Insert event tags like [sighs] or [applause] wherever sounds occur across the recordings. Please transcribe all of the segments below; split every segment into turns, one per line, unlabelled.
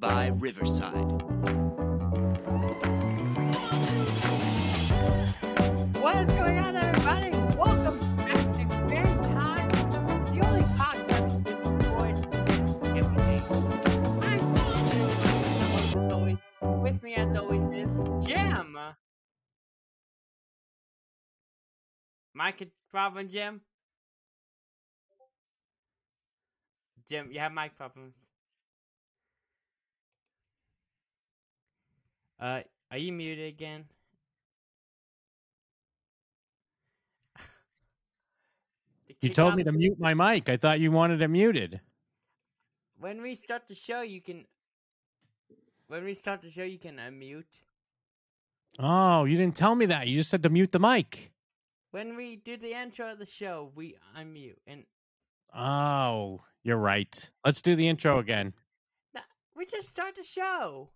by Riverside.
What is going on, everybody? Welcome back to Fair Time, the only podcast that destroys everything. I'm Jonathan, and as always, with me as always is Jim. Mike problem, Jim. Jim, you have mic problems. Uh, are you muted again? The
You
kick
told
off-
me to mute my mic. I thought you wanted it muted.
When we start the show, you can. When we start the show, you can unmute.
Oh, you didn't tell me that. You just said to mute the mic.
When we do the intro of the show, we unmute. And
Oh, you're right. Let's do the intro again.
we just start the show.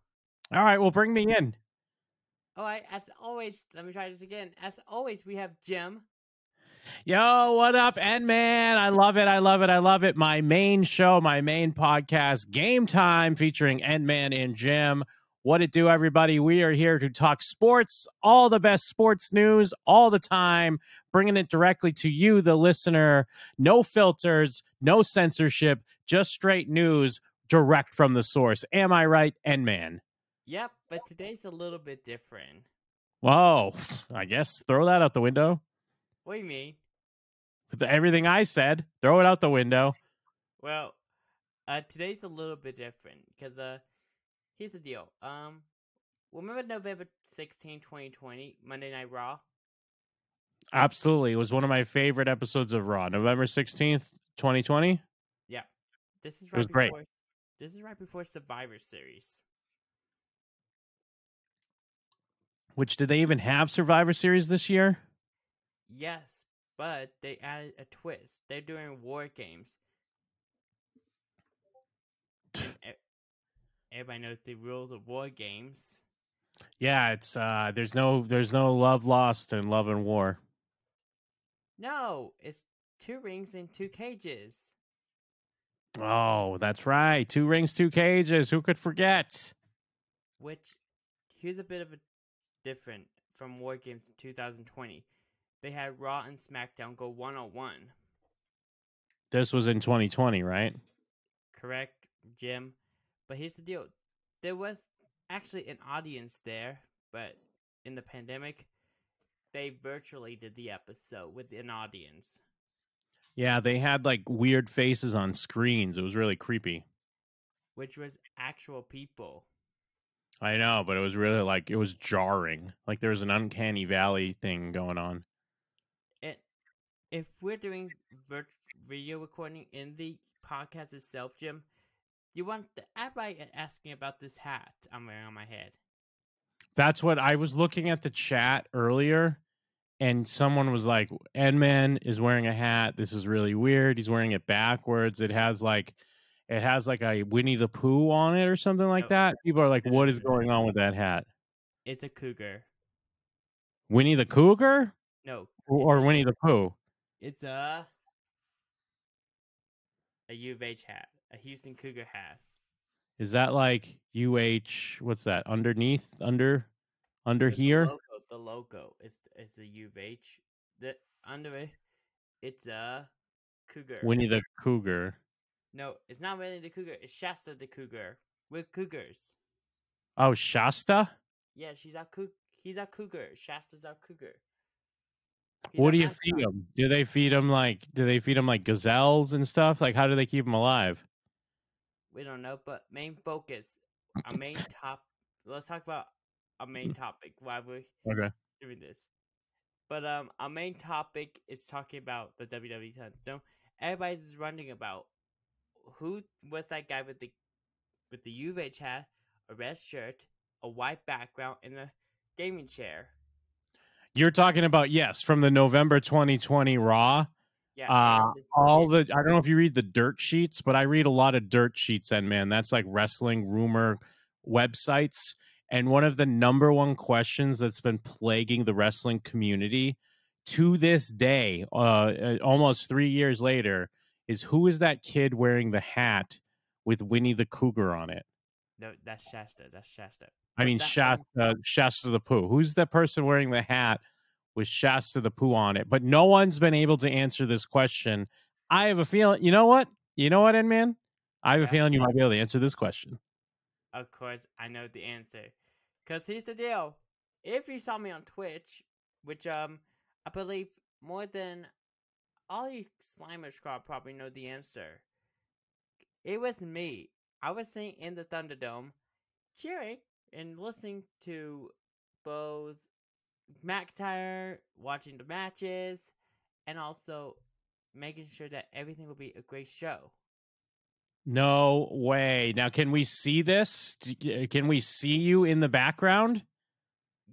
All right, well, bring me in.
All right, as always, let me try this again. As always, we have Jim.
Yo, what up, Ed Man? I love it. I love it. I love it. My main show, my main podcast, Game Time, featuring Ed Man and Jim. What it do, everybody? We are here to talk sports, all the best sports news, all the time, bringing it directly to you, the listener. No filters, no censorship, just straight news, direct from the source. Am I right, Ed Man?
Yep, but today's a little bit different.
Whoa, [laughs] I guess throw that out the window.
What do you mean?
Everything I said, throw it out the window.
Well, uh, today's a little bit different because uh, here's the deal. Um, remember November 16, 2020, Monday Night Raw?
Absolutely. It was one of my favorite episodes of Raw. November 16th, 2020.
This is right
was
before.
great.
This is right before Survivor Series.
Which did they even have Survivor Series this year?
Yes, but they added a twist. They're doing war games. And
[laughs]
e- Everybody knows the rules of war games.
Yeah, it's uh there's no there's no love lost and love and war.
No, it's two rings and two cages.
Oh, that's right. Two rings, two cages. Who could forget?
Which, here's a bit of a different from War Games 2020. They had Raw and SmackDown go one on one.
This was in 2020, right?
Correct, Jim. But here's the deal there was actually an audience there, but in the pandemic, they virtually did the episode with an audience.
Yeah, they had like weird faces on screens. It was really creepy.
which was actual people.
I know, but it was really like it was jarring. Like there was an uncanny valley thing going on.
It, if we're doing vir- video recording in the podcast itself, Jim, you want the, everybody a- asking about this hat I'm wearing on my head.
That's what I was looking at the chat earlier, and someone was like, "Edman is wearing a hat. This is really weird. He's wearing it backwards. It has like, it has like a Winnie the Pooh on it or something like
Oh.
that." People are like, "What is going on with that hat?
It's a cougar.
Winnie the Cougar
No,
or, or Winnie the Pooh?"
it's a a U of H hat, a Houston Cougar hat.
Is that like UH? What's that underneath? Under, under
But the
here?
logo- the logo. It's it's a U of H. The under it, it's a cougar.
Winnie the Cougar.
No, it's not really the cougar. It's Shasta the cougar. We're cougars.
Oh, Shasta.
Yeah, she's our coug. He's our cougar. Shasta's our cougar. He's
what
our
do you
mascot.
feed them? Do they feed them like? Do they feed them like gazelles and stuff? Like, how do they keep them alive?
We don't know, but main focus, our main top. Let's talk about our
[clears throat]
main topic. Why we're
Okay.
doing this. But um, our main topic is talking about the WWE title. No, everybody's just wondering about who was that guy with the with the U of H hat, a red shirt, a white background, and a gaming chair.
You're talking about yes from the November 2020 Raw.
Yeah,
Uh,
this-
All
this-
the I don't know if you read the dirt sheets, but I read a lot of dirt sheets, and man, that's like wrestling rumor websites. And one of the number one questions that's been plaguing the wrestling community to this day, uh, uh, almost three years later, is who is that kid wearing the hat with Winnie the Cougar on it?
No, that's Shasta. That's Shasta.
I mean,
that-
Shasta, Shasta the Pooh. Who's the person wearing the hat with Shasta the Pooh on it? But no one's been able to answer this question. I have a feeling. You know what? You know what, Endman? I have a
Yeah.
feeling you might be able to answer this question.
Of course, I know the answer. Cause here's the deal: if you saw me on Twitch, which um, I believe more than all you Slimer Squad probably know the answer. It was me. I was sitting in the Thunderdome, cheering and listening to both McIntyre, watching the matches, and also making sure that everything will be a great show.
No way. Now, can we see this? D- Can we see you in the background?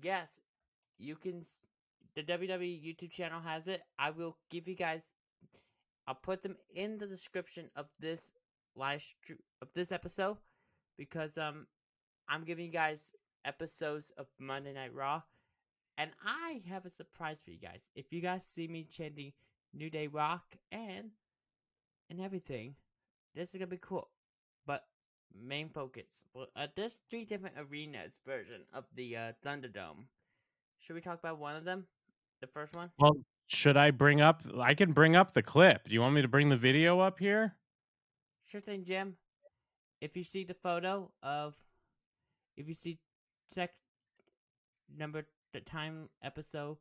yes, you can. s- The WWE YouTube channel has it. I will give you guys. I'll put them in the description of this live str- of this episode because um I'm giving you guys episodes of Monday Night Raw, and I have a surprise for you guys. If you guys see me chanting New Day Rock and and everything, this is gonna be cool. But main focus. Well, uh, there's three different arenas version of the uh, Thunderdome. Should we talk about one of them? The first one?
Well, should I bring up? I can bring up the clip. Do you want me to bring the video up here?
Sure thing, Jim. If you see the photo of, if you see sec number the time episode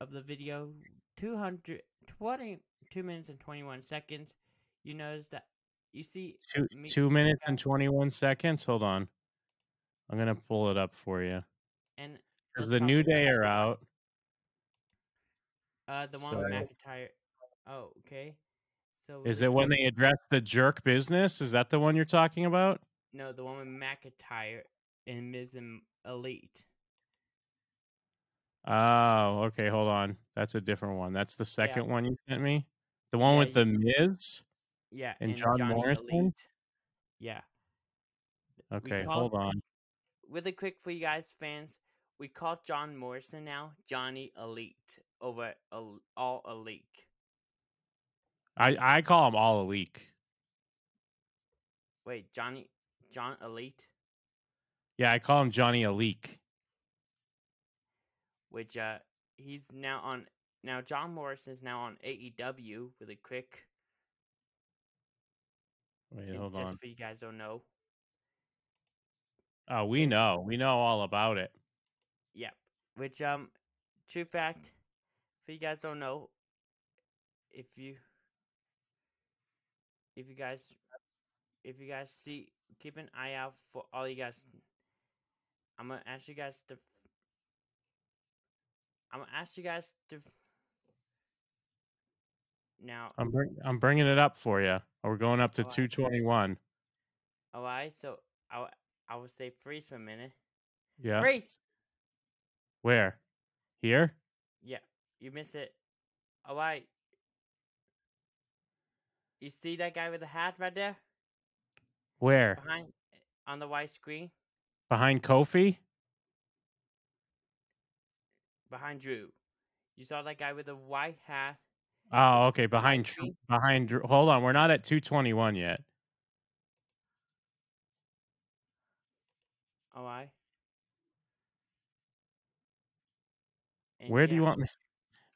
of the video, 220, 2 minutes and 21 seconds, you notice that you see
Two,
me-
two minutes
yeah.
and 21 seconds. Hold on. I'm going to pull it up for you.
and
'Cause
let's
The
talk
New
about-
Day are out.
Uh, the one with
Sorry.
McIntyre. Oh, okay. So
Is
this
it
one-
when they address the jerk business? Is that the one you're talking about?
No, the one with McIntyre and Miz and Elite.
Oh, okay. Hold on. That's a different one. That's the second one you sent me. The one
Yeah,
with the Miz.
Yeah,
And John
Johnny
Morrison?
Elite. Yeah.
Okay,
called-
hold on.
Really quick for you guys, fans, we call John Morrison now Johnny Elite over El- all Elite.
I I call them all a leak.
Wait, Johnny, John Elite,
Yeah, I call him Johnny a leak.
which uh he's now on. Now John Morrison is now on AEW. Really quick,
Wait,
and
hold
just
on.
for you guys don't know,
Oh, we know. We know all about it.
Yep. Which um, true fact, if you guys don't know, if you if you guys if you guys see keep an eye out for all you guys. I'm gonna ask you guys to. I'm gonna ask you guys to. Now,
I'm bring, I'm bringing it up for you. We're going up to
Alright.
221.
alright. So I w- I will say freeze for a minute.
Yeah.
Freeze.
Where? Here?
Yeah, you missed it. Alright. You see that guy with the hat right there?
Where?
Behind eh, on the white screen?
Behind Kofi?
Behind Drew. You saw that guy with the white hat?
Oh, okay. Behind Tr-
screen.
behind Dr- Hold on, we're not at 221 yet.
Alright. And
Where do you
yeah,
want me?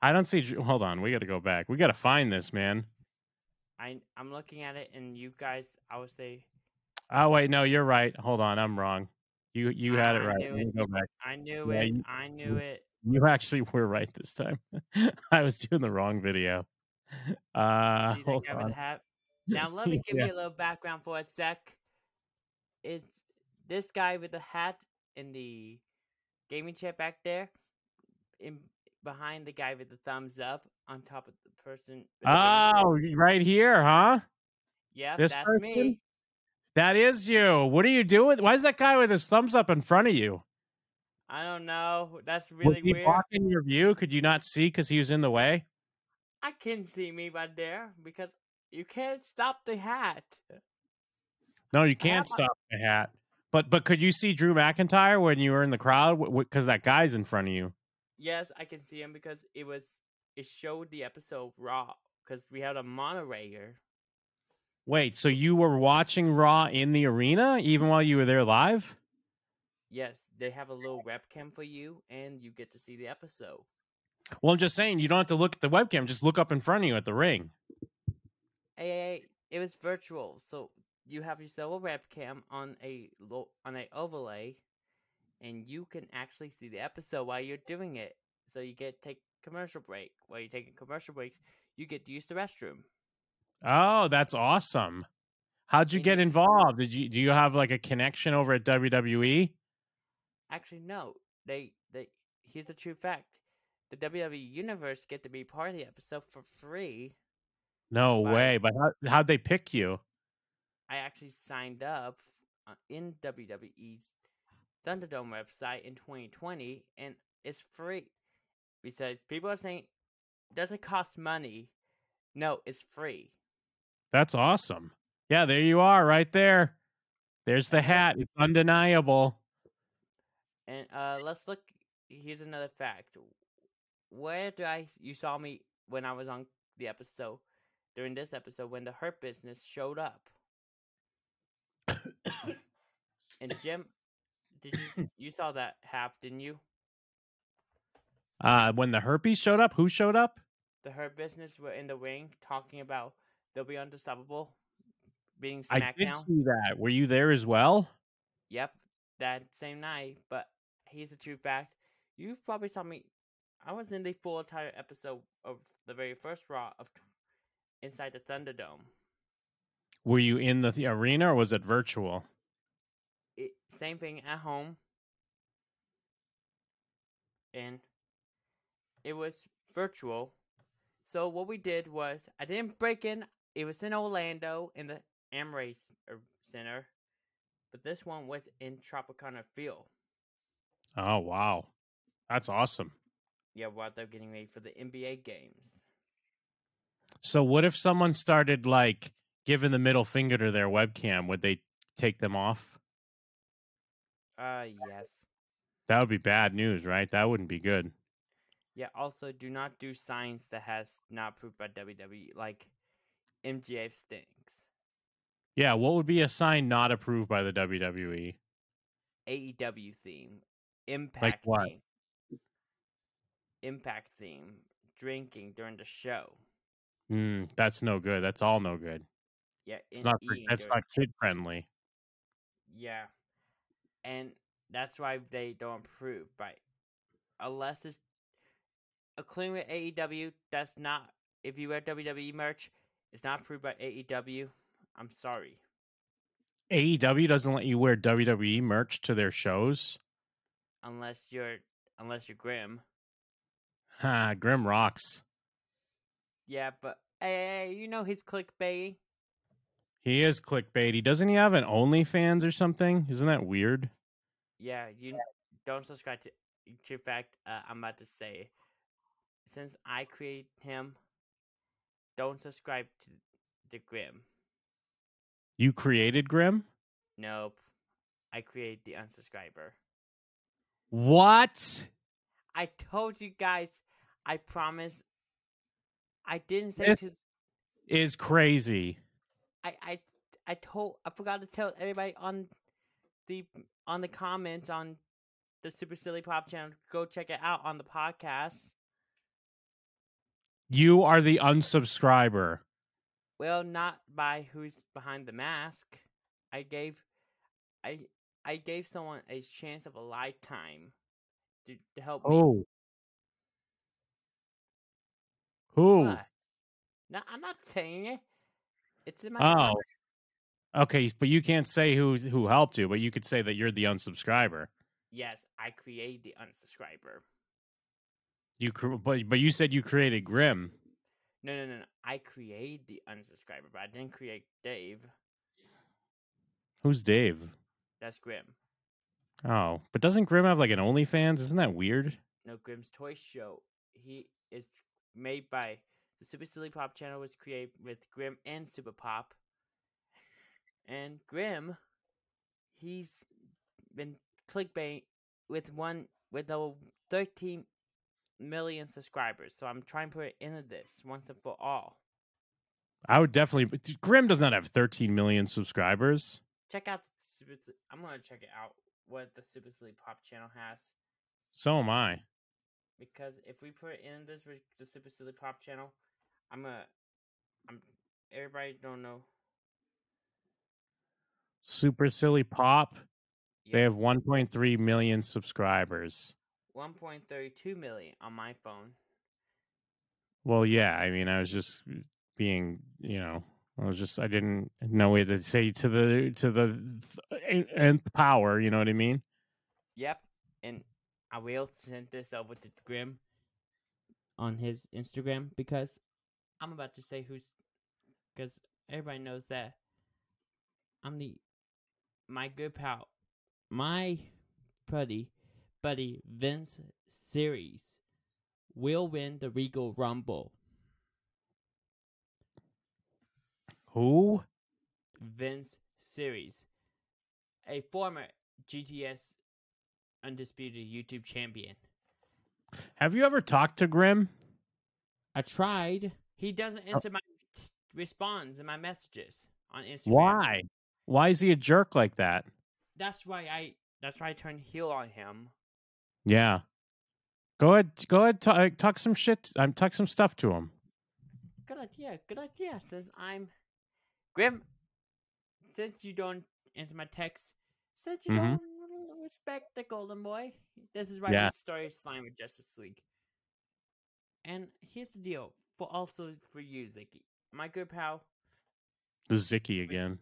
I don't see Dr- Hold on, we got to go back. We got to find this, man.
I I'm looking at it and you guys I would say
Oh, wait, no, you're right. Hold on, I'm wrong. You you had it
I
right.
knew
You
it.
go back.
I knew
Yeah,
it.
you-
I knew it.
You [laughs] actually were right this time. [laughs] I was doing the wrong video. [laughs] Uh,
See that
hold
guy with
on.
the hat? Now let
[laughs]
me give
Yeah.
you a little background for a sec. Is this guy with the hat in the gaming chair back there, in behind the guy with the thumbs up on top of the person? with the gaming chair?
Oh, right here, huh?
yeah,
this
that's
person?
me.
That is you. What are you doing? Why is that guy with his thumbs up in front of you?
I don't know. That's
Was
really
he
weird.
blocking your view? Could you not see because he was in the way?
I can see me right there because you can't stop the hat.
No, you
have
can't
my-
stop the hat. But but could you see Drew McIntyre when you were in the crowd? Because that guy's in front of you.
Yes, I can see him because it was it showed the episode raw because we had a monorail.
Wait, so you were watching Raw in the arena even while you were there live?
Yes, they have a little webcam for you, and you get to see the episode.
Well, I'm just saying you don't have to look at the webcam, just look up in front of you at the ring.
Hey, hey, hey, it was virtual, so you have yourself a webcam on a lo- on a overlay, and you can actually see the episode while you're doing it. So you get to take commercial break. While you're taking commercial breaks, you get to use the restroom.
Oh, that's awesome. How'd you
And
get
you-
involved? Did you do you have like a connection over at E? WWE?
Actually, no. They they here's the true fact: the WWE Universe get to be part of the episode for free.
No
By-
way. But how, how'd they pick you?
I actually signed up uh, in WWE's Thunderdome website in 2020, and it's free because people are saying it doesn't cost money. No, it's free.
That's awesome. Yeah, there you are, right there. There's the
That's it.
hat. It's undeniable.
And uh, let's look. Here's another fact. Where do I? You saw me when I was on the episode during this episode when the Hurt Business showed up. And Jim, did you you saw that half? Didn't you?
Uh, when the herpes showed up, who showed up?
The Hurt Business were in the ring talking about they'll be unstoppable, being
I did
SmackDown.
see that. Were you there as well?
Yep, that same night. But here's the true fact: you probably saw me. I was in the full entire episode of the very first Raw of t- Inside the Thunderdome.
Were you in the, the arena or was it virtual?
It, same thing at home, and it was virtual. So what we did was I didn't break in. It was in Orlando in the Amway C- er, Center, but this one was in Tropicana Field.
Oh wow, that's awesome.
Yeah, while they're getting ready for the NBA games.
So what if someone started like giving the middle finger to their webcam? Would they take them off?
Uh, yes.
That would be bad news, right? That wouldn't be good.
Yeah. Also, do not do signs that has not approved by WWE, like MGF stinks.
Yeah, what would be a sign not approved by the E? WWE?
AEW E theme, Impact
what?
theme, Impact theme, drinking during the show.
Hmm, that's no good. That's all no good.
Yeah, E
It's
and
not. for-
eating
That's
during-
not kid friendly.
Yeah, and that's why they don't approve. But unless it's a clean with AEW, that's not. If you wear WWE merch, it's not approved by AEW. I'm sorry.
AEW E doesn't let you wear WWE merch to their shows.
unless you're unless you're grim.
Ha, Grim rocks.
Yeah, but hey, hey, you know he's clickbait.
He is clickbaity. Doesn't he have an OnlyFans or something? Isn't that weird?
Yeah, you don't subscribe to. To fact, uh, I'm about to say, since I created him, don't subscribe to the grim.
You created Grim?
Nope, I created the unsubscriber.
What?
I told you guys. I promise. I didn't say
This-
to.
Is crazy.
I I I told. I forgot to tell everybody on the on the comments on the Super Silly Pop channel. Go check it out on the podcast.
You are the unsubscriber.
Well, not by who's behind the mask. I gave I I gave someone a chance of a lifetime to, to help me.
Oh. Who?
Why? No, I'm not saying it. It's in my
Oh.
comment.
Okay, but you can't say who who helped you, but you could say that you're the unsubscriber.
Yes, I created the unsubscriber.
You cr- but but you said you created Grim.
No, no, no, no. I created the unsubscriber, but I didn't create Dave.
Who's Dave?
That's Grim.
Oh, but doesn't Grim have like an OnlyFans? Isn't that weird?
No, Grimm's Toy Show. He is made by the Super Silly Pop channel was created with Grimm and Super Pop. And Grimm, he's been clickbait with one with over thirteen million subscribers. So I'm trying to put an end to this once and for all.
I would definitely. Grim does not have 13 million subscribers.
Check out the Stupid Sleep. I'm gonna check it out what the Stupid Sleep Pop channel has
So am I.
because if we put in this with the Stupid Silly Pop channel, I'm a, I'm everybody don't know.
Super Silly Pop. They
yeah,
have 1.3 million subscribers.
1.32 million on my phone.
Well, yeah. I mean, I was just uh, being, you know, I was just, I didn't know what to say to the to the th- nth power. You know what I mean?
Yep, and I will send this over to Grim on his Instagram because I'm about to say who's because everybody knows that I'm the my good pal, my buddy, buddy Vince series will win the Regal Rumble.
Who?
Vince Series, a former GTS Undisputed YouTube champion.
Have you ever talked to Grim?
I tried. He doesn't answer my t- responds and my messages on Instagram.
Why? Why is he a jerk like that?
That's why I. That's why I turned heel on him.
Yeah. Go ahead. Go ahead. Talk, talk some shit. I'm talk some stuff to him.
Good idea. Good idea. Since I'm Grim, since you don't answer my texts, since you
Mhm.
don't respect the Golden Boy, this is right
Yeah.
yeah. story slime with Justice League. And here's the deal, for also for you, Zicky, my good pal.
The Zicky again.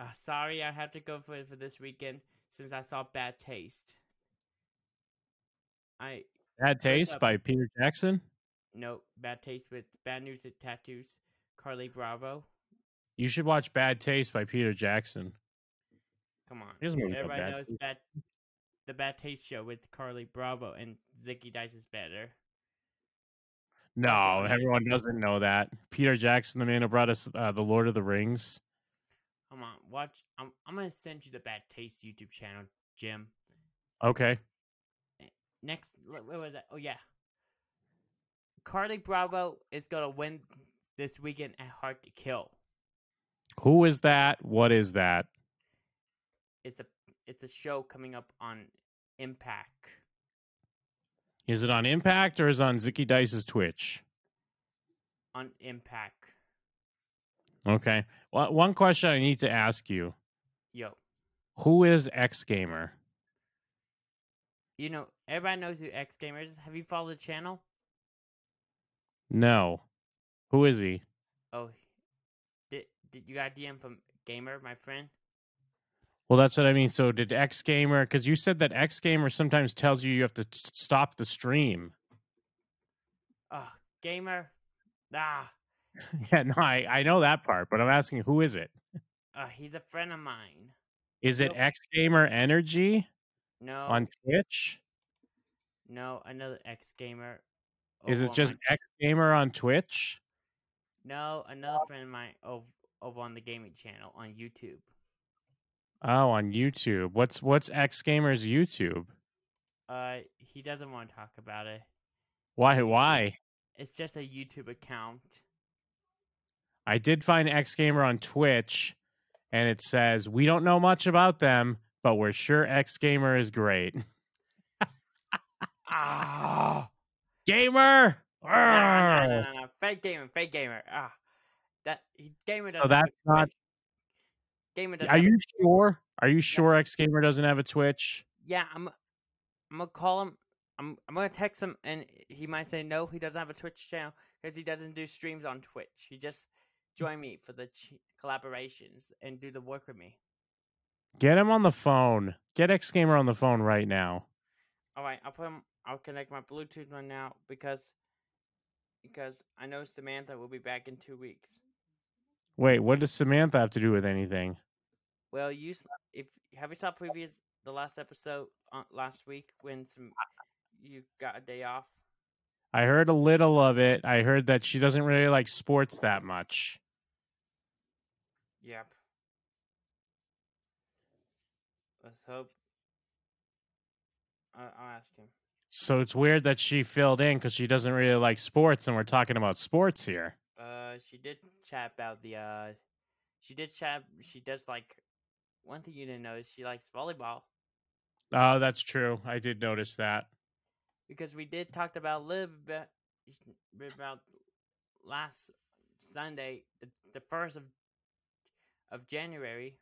Uh, sorry, I had to go for for this weekend since I saw Bad Taste. I
Bad Taste
up?
by Peter Jackson.
no Bad Taste with Bad News at Tattoos, Carly Bravo.
You should watch Bad Taste by Peter Jackson.
Come on.
He doesn't really know
Everybody
Bad
knows
Taste.
bad, the Bad Taste Show with Carly Bravo and Zicky Dice is better.
No,
That's it.
everyone doesn't know that. Peter Jackson, the man who brought us uh, the Lord of the Rings.
Come on, watch. I'm, I'm going to send you the Bad Taste YouTube channel, Jim.
Okay.
Next, what what was that? Oh, yeah. Carly Bravo is going to win this weekend at Hard to Kill.
Who is that? What is that?
It's a it's a show coming up on Impact.
Is it on Impact or is it on Zicky Dice's Twitch?
On Impact.
Okay. Well, one question I need to ask you:
Yo.
Who is X Gamer?
You know, everybody knows who X Gamers is. Have you followed the channel?
No. Who is he?
Oh, did, did you got a DM from Gamer, my friend?
Well, that's what I mean. So did X Gamer? Because you said that X Gamer sometimes tells you you have to s- stop the stream.
Oh, Gamer. Ah,
[laughs] yeah, no, I, I know that part, but I'm asking who is it?
uh, he's a friend of mine.
Is it
Nope.
X Gamer Energy
No,
on Twitch?
no, another X Gamer.
Is
over
it
Oh, on
just
my-
X Gamer on Twitch?
No, another friend of mine over, over on the gaming channel on YouTube.
Oh, on YouTube. What's what's X Gamer's YouTube?
Uh, he doesn't want to talk about it.
Why why?
It's just a YouTube account.
I did find X Gamer on Twitch and it says we don't know much about them, but we're sure X Gamer is great.
[laughs] Ah,
Gamer!
no, no, no,
Arr!
no, no, uh, fake gamer, fake gamer. Ah, that he- gamer.
So
doesn't
that's
have a
not-
Twitch. Gamer. doesn't
Are
have a
you sure? Are you sure X Gamer doesn't have a Twitch?
yeah, I'm I'm gonna call him. I'm I'm gonna text him, and he might say no. He doesn't have a Twitch channel because he doesn't do streams on Twitch. He just
Mm.
join me for the ch- collaborations and do the work with me.
Get him on the phone. Get X Gamer on the phone right now.
All right, I'll put him. I'll connect my Bluetooth right now because because I know Samantha will be back in two weeks.
Wait, what does Samantha have to do with anything?
Well, you s- if have you saw previous the last episode on, last week when some you got a day off.
I heard a little of it. I heard that she doesn't really like sports that much.
Yep. Let's hope. I- I'll ask him.
So it's weird that she filled in because she doesn't really like sports, and we're talking about sports here.
Uh, uh, she did chat about the uh, she did chat. She does like one thing you didn't know is she likes volleyball
Oh, that's true. I did notice that.
because we did talked about a little bit bit about last Sunday, the, the first of of January.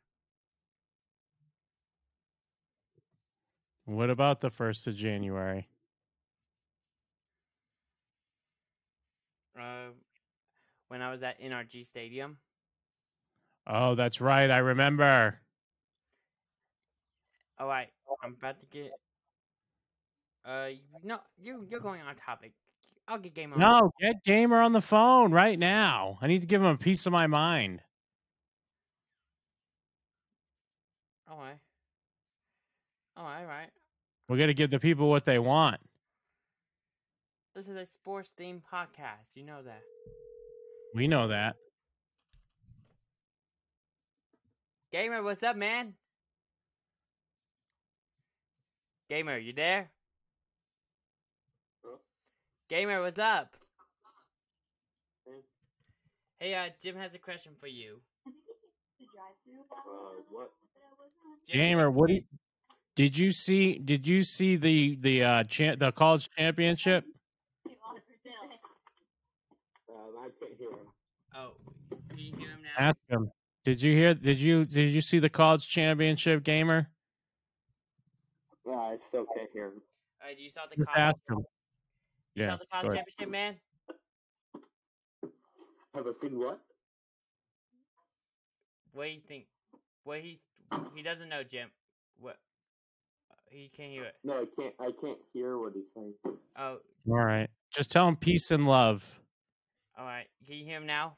What about the first of January?
Uh, when I was at NRG Stadium,
Oh, that's right. I remember.
All right, Oh, I'm about to get. Uh, no, you you're going on topic. I'll get game on.
No, get Gamer on the phone right now. I need to give him a piece of my mind.
All right. All right, Oh, all right.
We got to give the people what they want.
This is a sports themed podcast. You know that.
We know that.
Gamer, what's up, man? Gamer, you there?
Hello?
Gamer, what's up?
Hey.
Hey, uh, Jim has a question for you.
Uh, what?
Jim,
Gamer, what do you, did you see? Did you see the the uh cha- the college championship?
Um, I can't hear him.
Oh, can you hear him now?
Ask him. Did you hear? Did you did you see the college championship, Gamer?
Uh, I still can't hear him.
Alright, Uh, you saw the
Just
college,
ask him.
you
Yeah.
saw the college
go ahead.
championship, man?
Have I seen what?
What do you think? What he's he doesn't know, Jim. What he can't hear it.
No, I can't. I can't hear what he's saying.
Oh,
All right. Just tell him peace and love.
all right. Can you hear him now?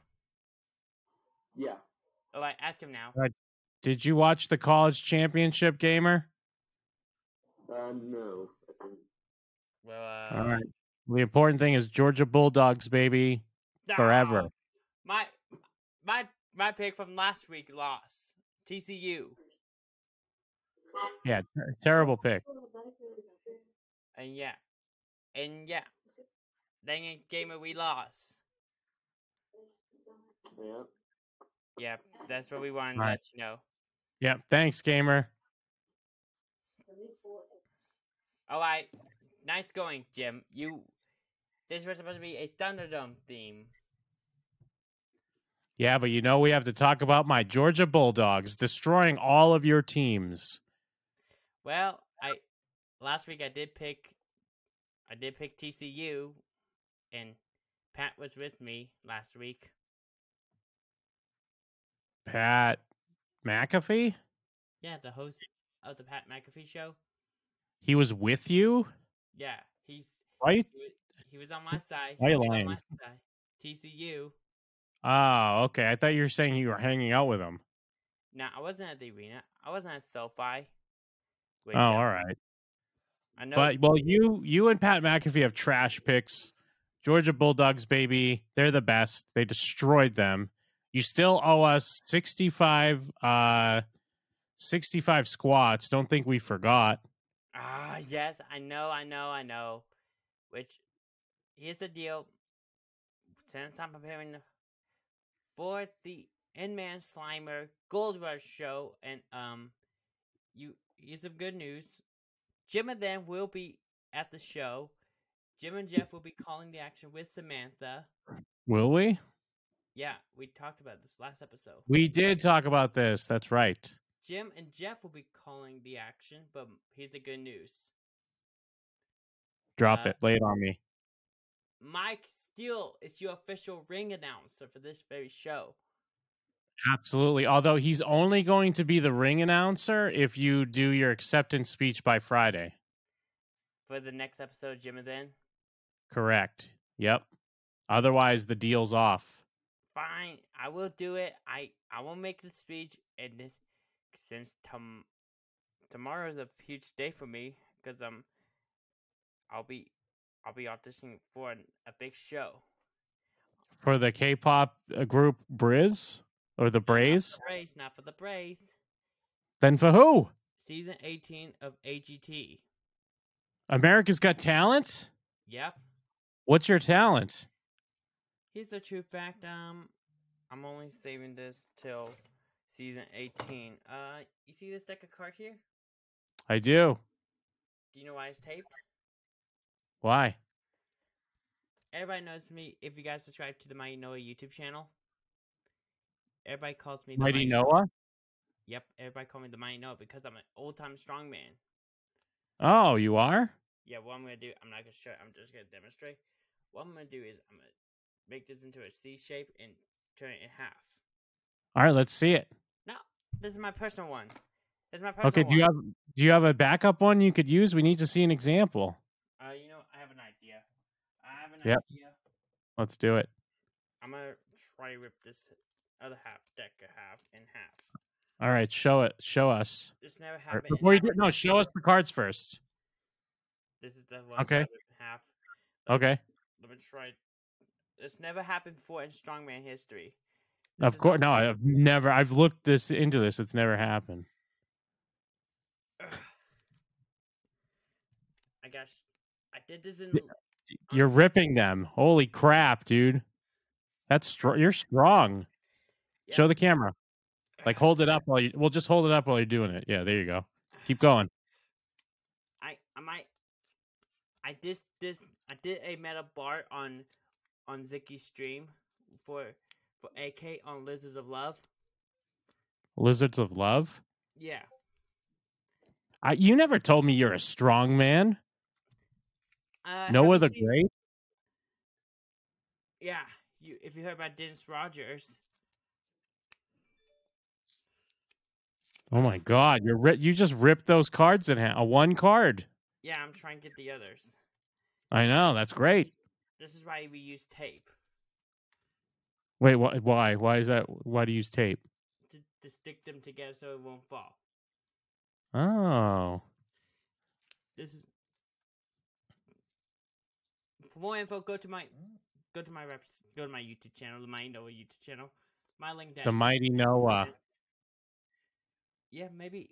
Yeah.
All right, ask him
Uh,
now.
Did you watch the college championship, Gamer?
Uh, no.
Well, uh,
All right. The important thing is Georgia Bulldogs, baby. Forever.
ah, [laughs] My my my pick from last week lost. TCU,
Yeah, ter- terrible pick.
and yeah, and yeah. Dang it, gamer, we lost.
Yeah.
Yep, that's what we wanted to
Right.
let you know.
Yep. Thanks, Gamer.
All right, nice going, Jim. You. This was supposed to be a Thunderdome theme.
Yeah, but you know we have to talk about my Georgia Bulldogs destroying all of your teams.
Well, I last week I did pick I did pick TCU and Pat was with me last week.
Pat McAfee,
Yeah, the host of the Pat McAfee show.
he was with you.
Yeah, he's
Right?
he was, he was on my side.
Why
he
you
was on
lying?
my side. TCU.
Oh, okay. I thought you were saying you were hanging out with him.
No, I wasn't at the arena. I wasn't at SoFi. Wait,
Oh, all right.
I know
But well, you you and Pat McAfee have trash picks. Georgia Bulldogs, baby, they're the best. They destroyed them. You still owe us sixty five uh sixty five squats. Don't think we forgot.
Ah, yes, I know, I know, I know. Which, here's the deal. Since I'm preparing for the Inman Slimer Gold Rush show, and um, you here's some good news. Jim and them will be at the show. Jim and Jeff will be calling the action with Samantha.
Will we?
Yeah, we talked about this last episode.
We did talk about this. That's right.
Jim and Jeff will be calling the action, but here's the good news.
Drop
Uh,
it. Lay it on me.
Mike Steele is your official ring announcer for this very show.
Absolutely. Although he's only going to be the ring announcer if you do your acceptance speech by Friday.
For the next episode, Jim and then.
Correct. Yep. Otherwise, the deal's off.
Fine, I will do it. I I will make the speech, and then- since tom tomorrow is a huge day for me, because um, I'll be I'll be auditioning for an, a big show.
For the K pop group Briz or the Braze,
Brace, not for the brace.
then for who?
Season eighteen of E AGT.
America's Got Talent?
Yep,
What's your talent?
here's the true fact. Um, I'm only saving this till season 18. Uh, you see this deck of cards here?
I do.
Do you know why it's taped?
Why?
Everybody knows me if you guys subscribe to the Mighty Noah YouTube channel. Everybody calls me the
Mighty Noah?
Yep, everybody call me the Mighty Noah because I'm an old time strongman.
Oh, you are?
Yeah, what I'm gonna do, I'm not gonna show it, I'm just gonna demonstrate. What I'm gonna do is I'm gonna make this into a C shape and turn it in half.
All right, let's see it.
This is my personal one. This is my personal
okay, do you
one.
have do you have a backup one you could use? We need to see an example.
uh you know, I have an idea. I have an
Yep.
idea.
Let's do it.
I'm gonna try to rip this other half deck a half in half.
All right, show it. Show us.
This never
All right,
happened. in
before you do,
Africa
no, show us the cards first.
This is the one.
Okay.
I ripped in half. Let me
Okay.
tr- Let me try. This never happened before in strongman history. This
Of
is
course.
a-
No, I've never I've looked this into this. It's never happened.
I guess I did this in.
You're ripping them. Holy crap, dude. That's strong. You're strong. Show
Yeah.
the camera. Like hold it up while you well just hold it up while you're doing it. Yeah, there you go.
[sighs]
Keep going.
I I might. I did this. I did a meta bar on on Zicky's stream for for AK on Lizards of Love.
Lizards of Love.
Yeah.
I, you never told me you're a strong man.
Uh,
Noah
have you
the
seen-
Great.
Yeah. You if you heard about Dennis Rogers.
Oh my God, you're ri- you just ripped those cards in half. A one card.
Yeah, I'm trying to get the others.
I know that's great.
This is why we use tape
Wait, wh- why? Why is that? Why do you use tape?
to, to stick them together so it won't fall.
Oh,
This is for more info. Go to my go to my reps, go to my YouTube channel, the Mighty Noah YouTube channel. My link down.
the mighty Noah.
Yeah, maybe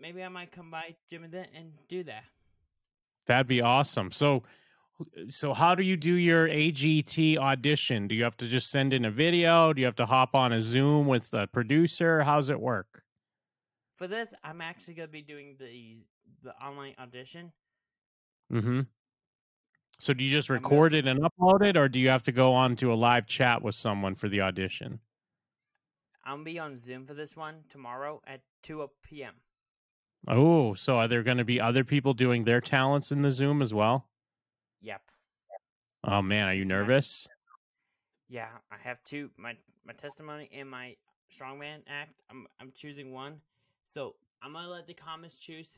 maybe I might come by Jim and then and do that.
That'd be awesome. So, so how do you do your AGT audition? Do you have to just send in a video? Do you have to hop on a Zoom with the producer? How's it work?
For this, I'm actually gonna be doing the the online audition.
Mm-hmm. So do you just
I'm gonna-
record it and upload it, or do you have to go on to a live chat with someone for the audition?
I'll be on Zoom for this one tomorrow at two p.m.
Oh, so are there going to be other people doing their talents in the Zoom as well?
Yep.
Oh man, are you nervous?
Yeah, I have two. My my testimony and my strongman act. I'm I'm choosing one. So I'm gonna let the comments choose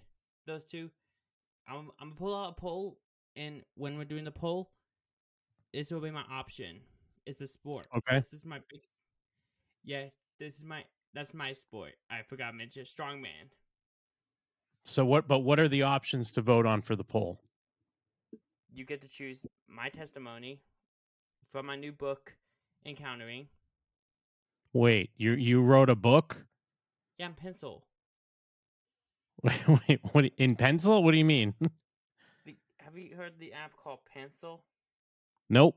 those two. I'm I'm gonna pull out a poll, and when we're doing the poll, this will be my option. It's a sport.
Okay.
This is my big. Yeah, this is my that's my sport. I forgot to mention strongman.
So what? But what are the options to vote on for the poll?
You get to choose my testimony from my new book, Encountering.
Wait, you you wrote a book?
Yeah, in pencil.
[laughs] Wait, what in pencil? What do you mean? [laughs]
The, have you heard the app called Pencil?
nope.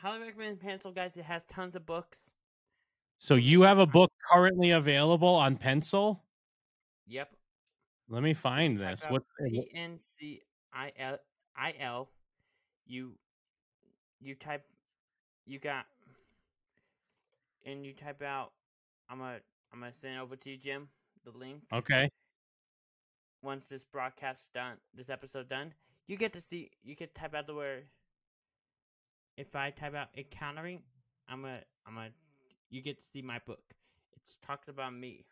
Highly recommend Pencil, guys. It has tons of books.
So you have a book currently available on pencil?
Yep.
Let me find this. What?
P N C I L I L. You you type you got and you type out. I'm gonna I'm gonna send it over to you, Jim. The link.
Okay.
Once this broadcast done, this episode done, you get to see. You can type out the word. If I type out encountering, I'm a I'm a. You get to see my book. It's talked about me.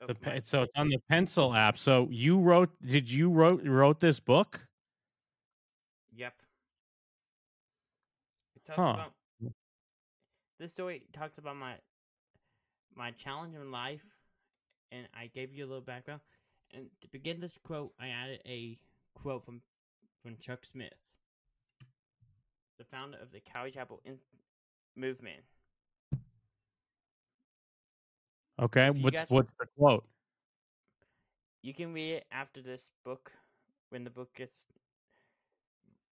of
The,
my-
pe- so it's on the pencil app. So you wrote? Did you wrote wrote this book?
Yep. It talks
Huh.
about this story talks about my my challenge in life and I gave you a little background. And to begin this quote I added a quote from from Chuck Smith, the founder of the Cowie Chapel in- movement.
Okay.
Do you
What's
guys-
what's the quote?
You can read it after this book when the book gets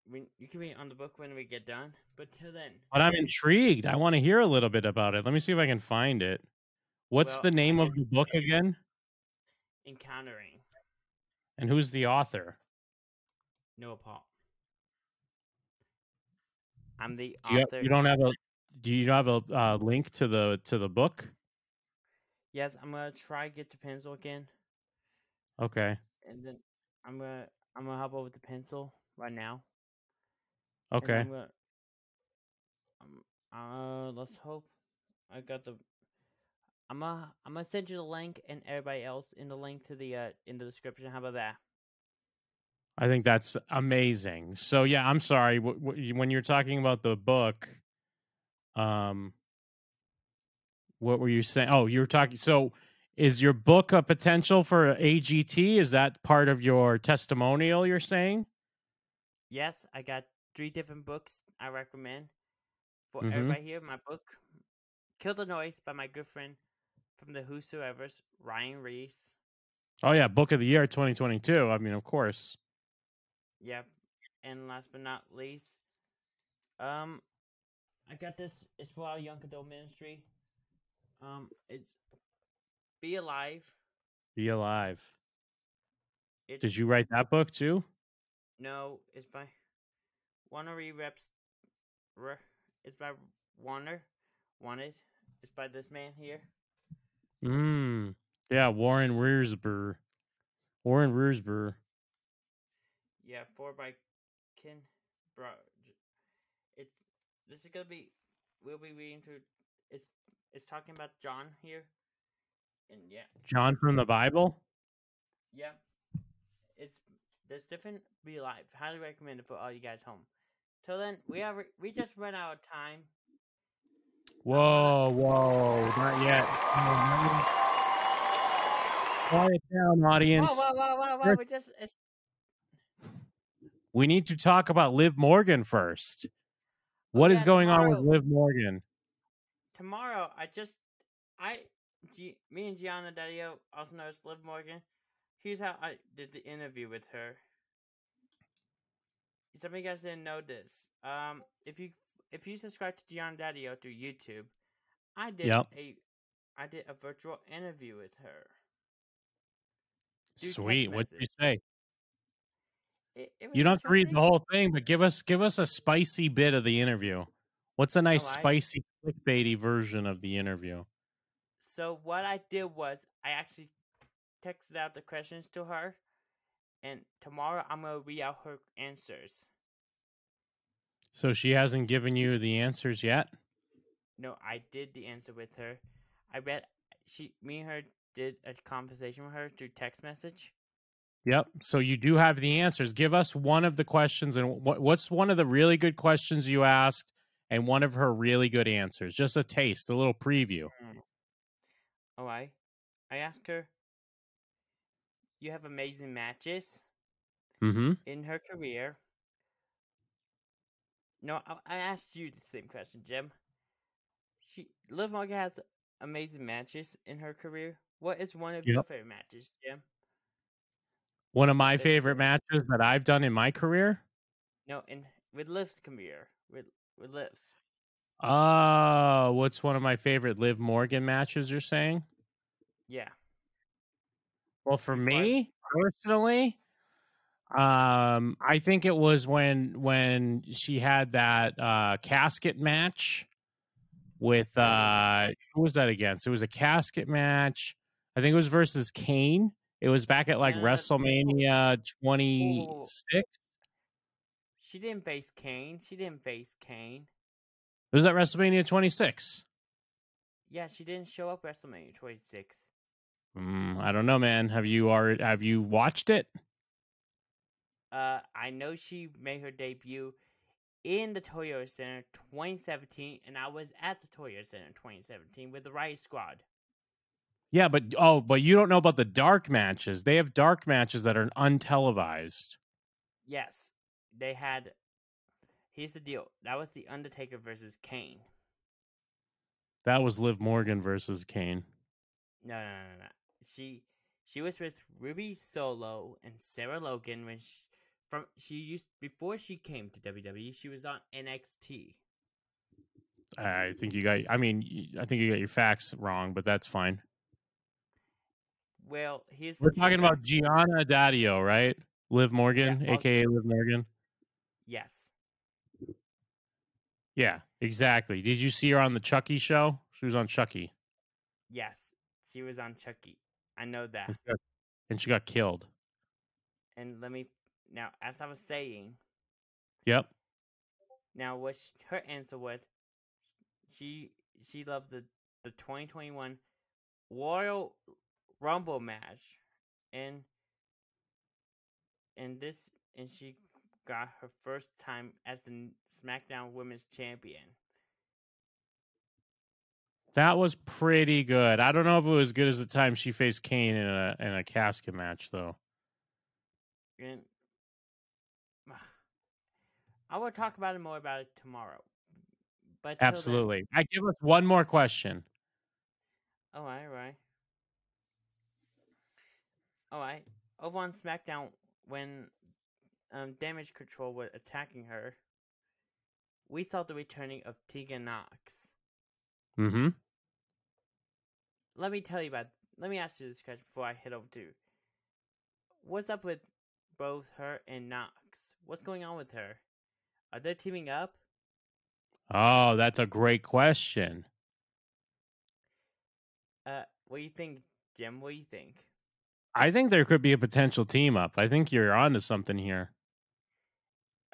when you can read on the book when we get done. But till then,
But I'm intrigued. I want to hear a little bit about it. Let me see if I can find it. What's
Well,
the name
I
of the book again?
encountering
And who's the author?
Noah Paul. I'm the
Do you,
author.
you don't have a do you have a uh, link to the to the book?
Yes, I'm gonna try get the pencil again,
Okay.
and then I'm gonna I'm gonna hop over the pencil right now. and
Okay.
I'm gonna- um, uh, let's hope I got the. I'm gonna I'm gonna send you the link and everybody else in the link to the uh in the description. How about that?
I think that's amazing. So yeah, I'm sorry wh- wh- you- when you're talking about the book. Um, what were you saying? Oh, you were talking. So, is your book a potential for a AGT? Is that part of your testimonial? You're saying?
Yes, I got three different books I recommend for
Mhm.
everybody here. My book, Kill the Noise by my good friend from the Whosoever's, Ryan Reese.
Oh yeah, book of the year 2022. I mean, of course.
Yep. And last but not least, um, I got this. It's for our young adult ministry. Um, it's be alive.
Be alive.
It's,
Did you write that book too?
No, it's by Warner E. Reps. Re, it's by Warner. Wanted. It's by this man here.
Mm. Yeah, Warren Rearsburg. Warren Rearsburg.
Yeah, four by Ken. Bro, it's this is gonna be. We'll be reading through. It's it's talking about John here, and yeah.
John from the Bible.
Yeah. It's there's different be life. Highly recommend it for all you guys home. Till then, we have we just ran out of time.
Whoa, whoa, not yet. Quiet down, audience.
Whoa, whoa, whoa, whoa, whoa!
Sure.
We just it's,
We need to talk about Liv Morgan first. What
Oh,
is
yeah,
going on
tomorrow.
with Liv Morgan?
tomorrow. I just I G, me and Gianna Daddio, also known as Liv Morgan. Here's how I did the interview with her. Some of you guys didn't know this. Um, if you if you subscribe to Gianna Daddio through YouTube, I did
Yep.
a I did a virtual interview with her. text
Sweet. What'd you
message.
say?
It, it was
You don't have to read the
interesting.
whole thing, but give us give us a spicy bit of the interview. What's a nice
I-
spicy clickbaity version of the interview?
So what I did was I actually texted out the questions to her, and tomorrow I'm gonna read out her answers.
So she hasn't given you the answers yet?
No, I did the answer with her. I read she, me and her did a conversation with her through text message.
Yep. So you do have the answers. Give us one of the questions, and what, what's one of the really good questions you asked, and one of her really good answers. Just a taste, a little preview.
All right, Oh, I asked her, "You have amazing matches
Mm-hmm.
in her career." No, I, I asked you the same question, Jim. She Liv Morgan has amazing matches in her career. What is one of your
Yep.
favorite matches, Jim?
One of my
Thank you.
favorite matches that I've done in my career.
No, in with Liv's career, with with Liv's.
Oh, what's one of my favorite Liv Morgan matches? You're saying?
Yeah,
Well, for
Before I-
me personally, um, I think it was when when she had that uh, casket match with uh, who was that against? It was a casket match. I think it was versus Kane. It was back at like
No, no, no.
WrestleMania twenty six.
she didn't face Kane. She didn't face Kane.
Was that WrestleMania twenty six?
Yeah, she didn't show up WrestleMania 26.
Mm, I don't know, man. Have you already have you watched it?
Uh, I know she made her debut in the Toyota Center 2017, and I was at the Toyota Center 2017 with the Riot Squad.
Yeah, but oh, but you don't know about the dark matches. They have dark matches that are untelevised.
Yes, they had. Here's the deal. That was the Undertaker versus Kane.
That was Liv Morgan versus Kane.
No, no, no, no, no. She she was with Ruby Solo and Sarah Logan when she, from she used before she came to WWE, she was on NXT.
I think you got. I mean, y- I think you got your facts wrong, but that's fine.
Well, here's the
We're
thing
talking about Gianna Daddio, right? Liv Morgan,
Yeah, I'll-
aka Liv Morgan.
yes.
Yeah, exactly. Did you see her on the Chucky show? She was on Chucky,
Yes, she was on Chucky. I know that.
and she got- and she got killed.
And let me now, as I was saying,
Yep.
now what sh her answer was, she she loved the the 2021 Royal Rumble match, and and this and she got her first time as the n- SmackDown Women's Champion.
That was pretty good. I don't know if it was as good as the time she faced Kane in a in a casket match, though.
And [sighs] I will talk about it more about it tomorrow. But till then-
Absolutely. I give us one more question.
All right, all Oh, right. All right. Over on SmackDown, when um, Damage Control were attacking her, we saw the returning of Tegan Knox.
Mm-hmm.
Let me tell you about. Let me ask you this question before I head over to. What's up with both her and Knox? What's going on with her? Are they teaming up?
Oh, that's a great question.
Uh, what do you think, Jim? What do you think?
I think there could be a potential team up. I think you're onto something here.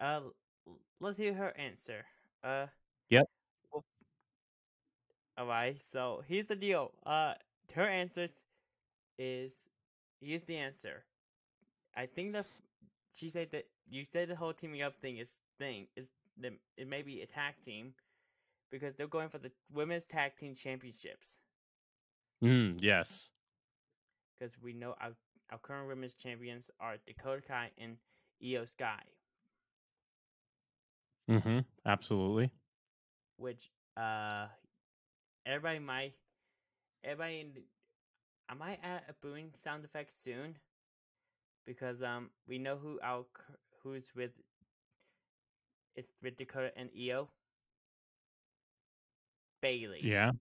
Uh, l- let's hear her answer. Uh.
Yep.
all right. So here's the deal. Uh, her answer is here's the answer. I think the f- she said that you said the whole teaming up thing is thing is the it may be a tag team because they're going for the women's tag team championships
Mm, yes.
because we know our our current women's champions are Dakota Kai and Io Sky.
Mm-hmm. Absolutely.
which uh everybody might everybody in the, I might add a booing sound effect soon because um we know who our cur- who's with it's with Dakota and EO Bailey.
Yeah.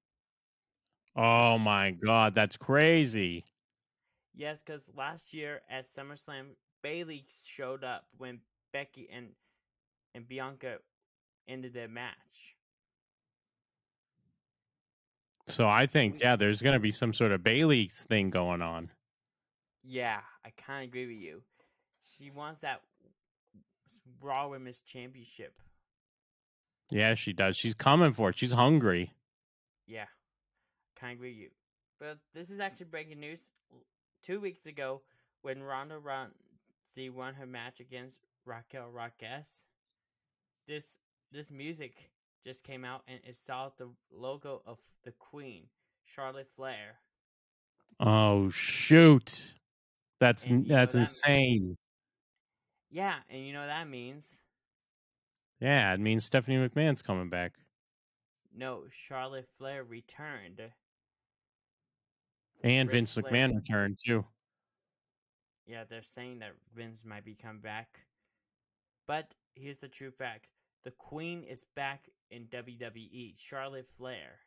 Oh my God, that's crazy.
Yes, because last year at SummerSlam, Bailey showed up when Becky and and Bianca ended their match.
So I think yeah, there's gonna be some sort of Bailey's thing going on.
Yeah, I kind of agree with you. She wants that s- Raw Women's Championship.
Yeah, she does. She's coming for it. She's hungry.
Yeah, kind of agree with you. But this is actually breaking news. L- Two weeks ago, when Ronda Rousey won her match against Raquel Rodriguez, this this music just came out and it saw the logo of the Queen, Charlotte Flair.
Oh shoot. That's
And you know
that's
that-
insane.
Yeah, and you know what that means?
Yeah, it means Stephanie McMahon's coming back.
No, Charlotte Flair returned.
And
Ric
Vince
Flair.
McMahon returned too.
Yeah, they're saying that Vince might be come back. But here's the true fact. The Queen is back in WWE. Charlotte Flair.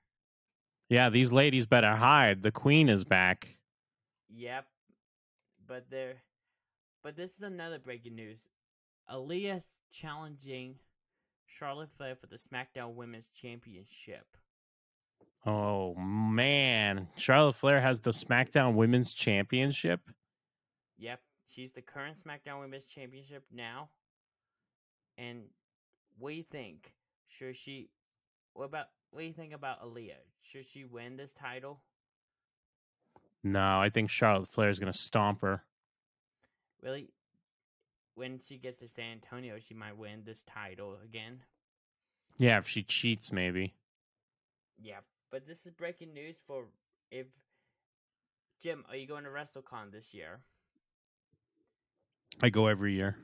Yeah, these ladies better hide. The queen is back.
Yep. But they're but this is another breaking news. Aaliyah's challenging Charlotte Flair for the SmackDown Women's Championship.
Oh man, Charlotte Flair has the SmackDown Women's Championship.
Yep. She's the current SmackDown Women's Championship now. And what do you think? Should she what about what do you think about Aaliyah? Should she win this title?
No, I think Charlotte Flair is gonna stomp her.
Really? When she gets to San Antonio, she might win this title again.
Yeah, if she cheats, maybe.
Yeah, but this is breaking news for if Jim, are you going to WrestleCon this year?
I go every year.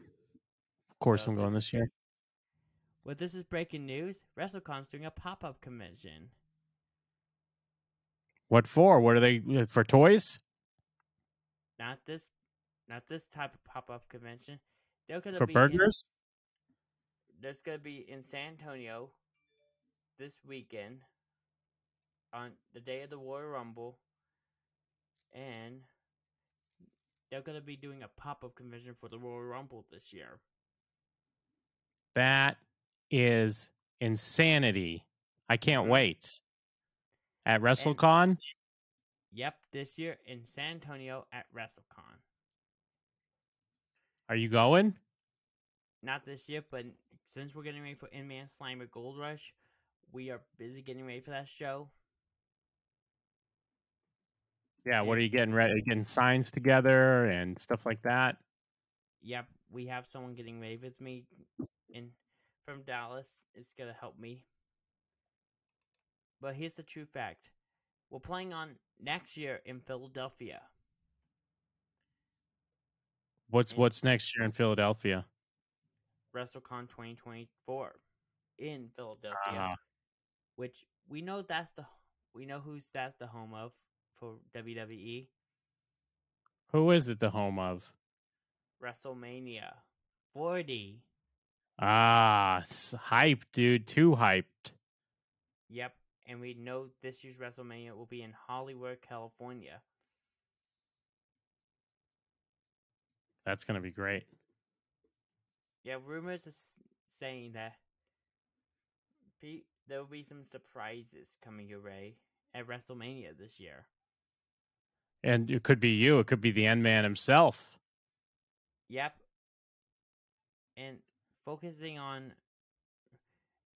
Of course,
Oh,
I'm going
this
this year.
Well, this is breaking news. WrestleCon's doing a pop up convention.
What for? What are they uh, for? Toys?
Not this, not this type of pop up convention. They're gonna
for
be in-
burgers.
that's gonna be in San Antonio this weekend on the day of the Royal Rumble, and they're gonna be doing a pop up convention for the Royal Rumble this year.
That is insanity. I can't
Mhm.
wait. At WrestleCon,
Yep, this year in San Antonio at WrestleCon.
are you going?
Not this year, but since we're getting ready for In Man Slime at Gold Rush, we are busy getting ready for that show.
Yeah, what
Yeah.
are you getting ready? Getting signs together and stuff like that.
Yep, we have someone getting ready with me in from Dallas. It's gonna help me. But here's the true fact. We're playing on next year in Philadelphia.
What's
Yeah.
what's next year in Philadelphia?
WrestleCon 2024 in Philadelphia,
Uh-huh.
which we know that's the we know who's that's the home of for E, WWE
Who is it the home of?
WrestleMania 40.
Ah, s- hype, dude. Too hyped.
Yep, and we know this year's WrestleMania will be in Hollywood, California.
That's gonna be great.
Yeah, rumors is saying that pe- there will be some surprises coming your way at WrestleMania this year.
And it could be you. It could be the end man himself.
Yep. And focusing on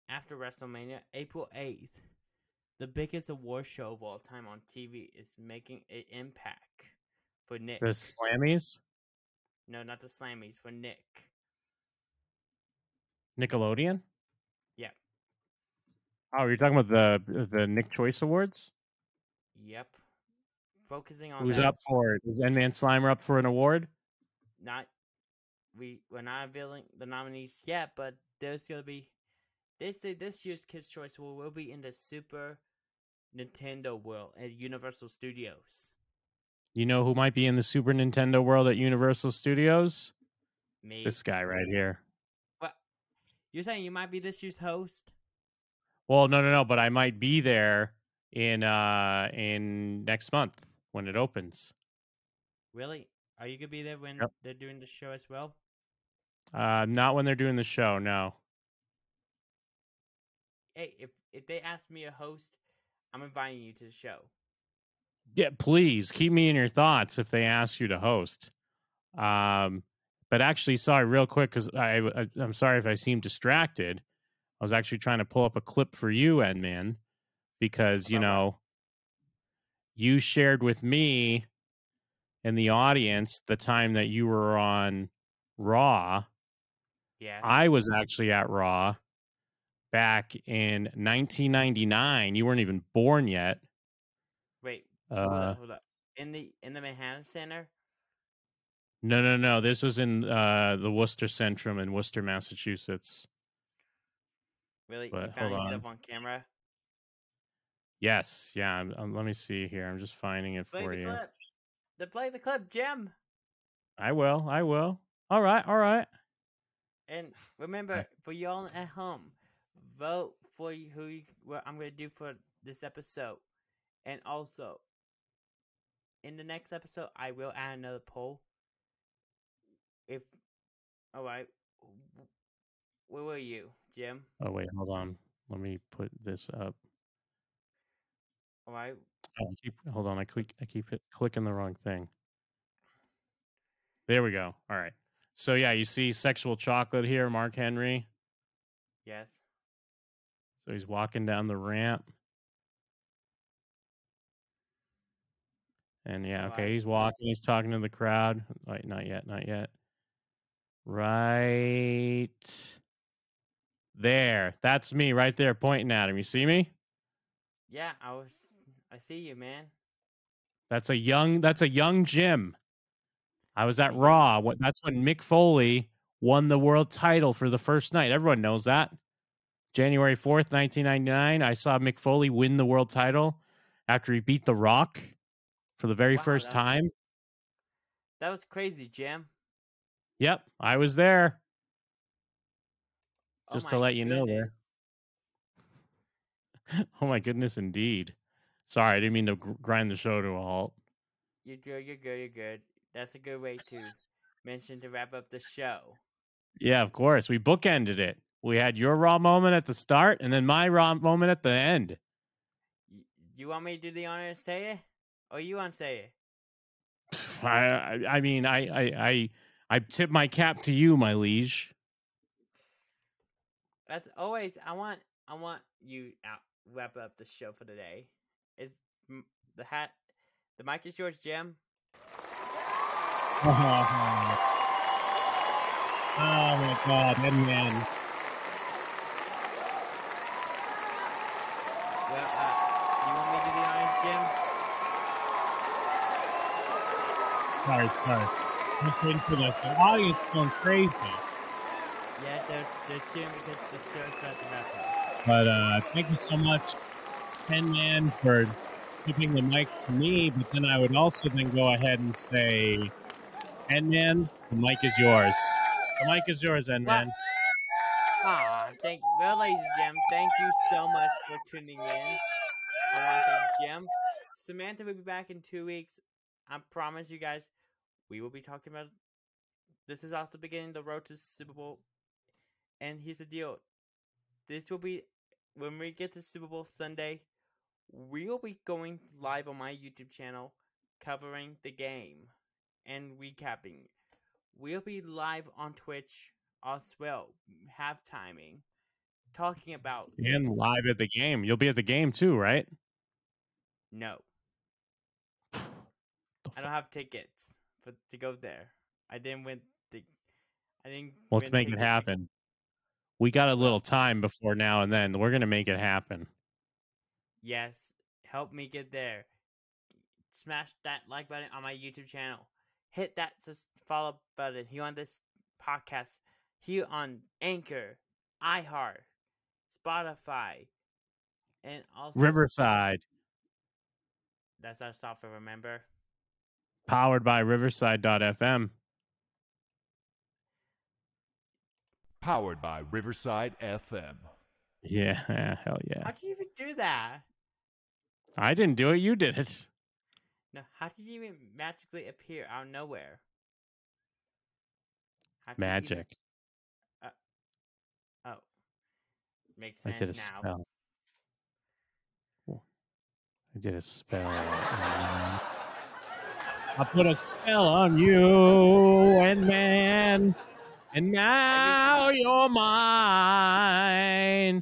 after WrestleMania, April 8th, the biggest award show of all time on TV is making an impact for Nick.
The Slammies,
No, not the Slammies, for Nick.
Nickelodeon.
Yeah.
Oh, you're talking about the the Nick Choice Awards.
Yep. Focusing on
Who's
that,
up for it? Is N Man Slimer up for an award?
not we we're not revealing the nominees yet, but there's gonna be they say this year's Kids Choice Award will be in the Super Nintendo world at Universal Studios.
You know who might be in the Super Nintendo world at Universal Studios?
Me,
This guy right here.
you're saying you might be this year's host?
Well, no, no, no. But I might be there in uh in next month when it opens.
Really? Are you gonna be there when
Yep.
they're doing the show as well?
Uh, not when they're doing the show. No.
Hey, if if they ask me a host, I'm inviting you to the show.
Yeah, please keep me in your thoughts if they ask you to host. Um, but actually, sorry, real quick, because I, I I'm sorry if I seem distracted. I was actually trying to pull up a clip for you, Edman, because you
About what?
know you shared with me and the audience the time that you were on Raw.
Yeah.
I was actually at Raw back in 1999. You weren't even born yet.
Wait, hold
Uh,
up, hold up. In the in the Manhattan Center?
No, no, no. This was in uh, the Worcester Centrum in Worcester, Massachusetts.
Really? You
But
found
hold
yourself on camera?
Yes, yeah. I'm, I'm- let me see here. I'm just finding it
Play
for
the
you.
clip. The play the clip, Jim.
I will. I will. All right. All right.
And
[laughs]
remember, for y'all at home, vote for y- who you, what I'm going to do for this episode. And also, in the next episode, I will add another poll. If, all right, w- where were you, Jim?
Oh wait, hold on. Let me put this up.
All right,
Oh, I keep, hold on. I click. I keep it, clicking the wrong thing. There we go. All right. So yeah, you see sexual chocolate here, Mark Henry.
yes.
So he's walking down the ramp. And yeah,
Wow.
okay, he's walking, he's talking to the crowd. Like, not yet, not yet. Right there. That's me right there pointing at him. You see me?
Yeah, I was, I see you, man.
That's a young that's a young Jim. I was at
Yeah.
Raw. What that's when Mick Foley won the world title for the first night. Everyone knows that. January 4th, 1999, I saw Mick Foley win the world title after he beat The Rock for the very
Wow,
first
that's-
time.
That was crazy, Jim.
Yep, I was there.
Oh
Just to
my
let you know there.
goodness.
[laughs] Oh my goodness, indeed. Sorry, I didn't mean to gr- grind the show to a halt.
You're good, you're good, you're good. That's a good way to mention to wrap up the show.
Yeah, of course. We bookended it. We had your raw moment at the start and then my raw moment at the end.
Y- You want me to do the honor and say it? Or you want to say it?
Pff, I, I, I mean, I, I, I, I tip my cap to you, my liege.
As always, I want I want you out wrap up the show for today. Is m- the hat the mic is yours, Jim?
[laughs] oh my god, man.
Well, uh, you want me to do the honors, Jim?
Sorry, sorry. I'm just waiting for this. The audience is going crazy.
Yeah, they're they're cheering because the show's about to wrap up.
But uh, thank you so much, Ken Man, for tipping the mic to me. But then I would also then go ahead and say, Ken Man, the mic is yours. The mic is yours, N Man.
Ah, thank well, ladies and gentlemen, thank you so much for tuning in. I want to thank Jim. Samantha will be back in two weeks. I promise you guys, we will be talking about. This is also beginning the road to Super Bowl, and here's the deal: this will be when we get to Super Bowl Sunday. We will be going live on my YouTube channel, covering the game and recapping. We'll be live on Twitch as well, have timing, talking about
And
this.
live at the game. You'll be at the game too, right? [sighs]
No, I don't have tickets for to go there. I didn't win the. I didn't.
Well, Let's
win
make it
tickets.
happen. We got a little time before now and then. We're going to make it happen.
Yes, help me get there. Smash that like button on my YouTube channel. Hit that sus- follow button here on this podcast, here on Anchor, iHeart, Spotify, and also
Riverside,
That's our software. Remember.
powered by riverside.fm.
Powered by Riverside FM.
Yeah, [laughs] hell yeah.
How did you even do that?
I didn't do it. You did it. [laughs]
No, how did you even magically appear out of nowhere? How did you even-
Magic.
Oh, makes
I
sense
did a
now.
spell. I did a spell. I put a spell on you and man, and now you're mine.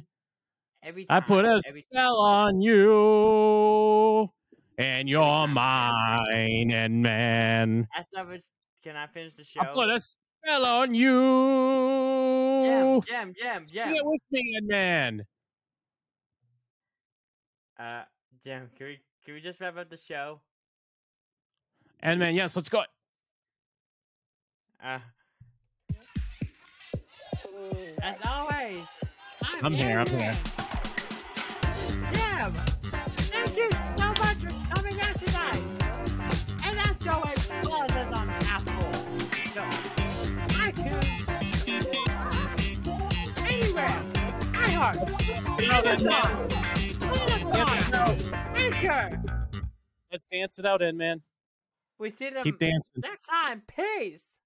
Every
I
time,
put a
every
spell on you, and you're
time.
mine and man.
That's not what- Can I finish the show?
I put a spell on you.
jam, jam, jam,
Sing
jam.
it with me and man.
Uh, jam. Can we can we just wrap up the show?
And man, yes, let's go.
Uh, as always, I'm,
I'm here, I'm here.
Jam, thank you so much for coming out tonight. And as always, follow us on Apple, so iTunes, anywhere, iHeart, Amazon, Spotify, Anchor.
Let's dance it out, Ed man.
We see them
Keep dancing.
next time. Peace.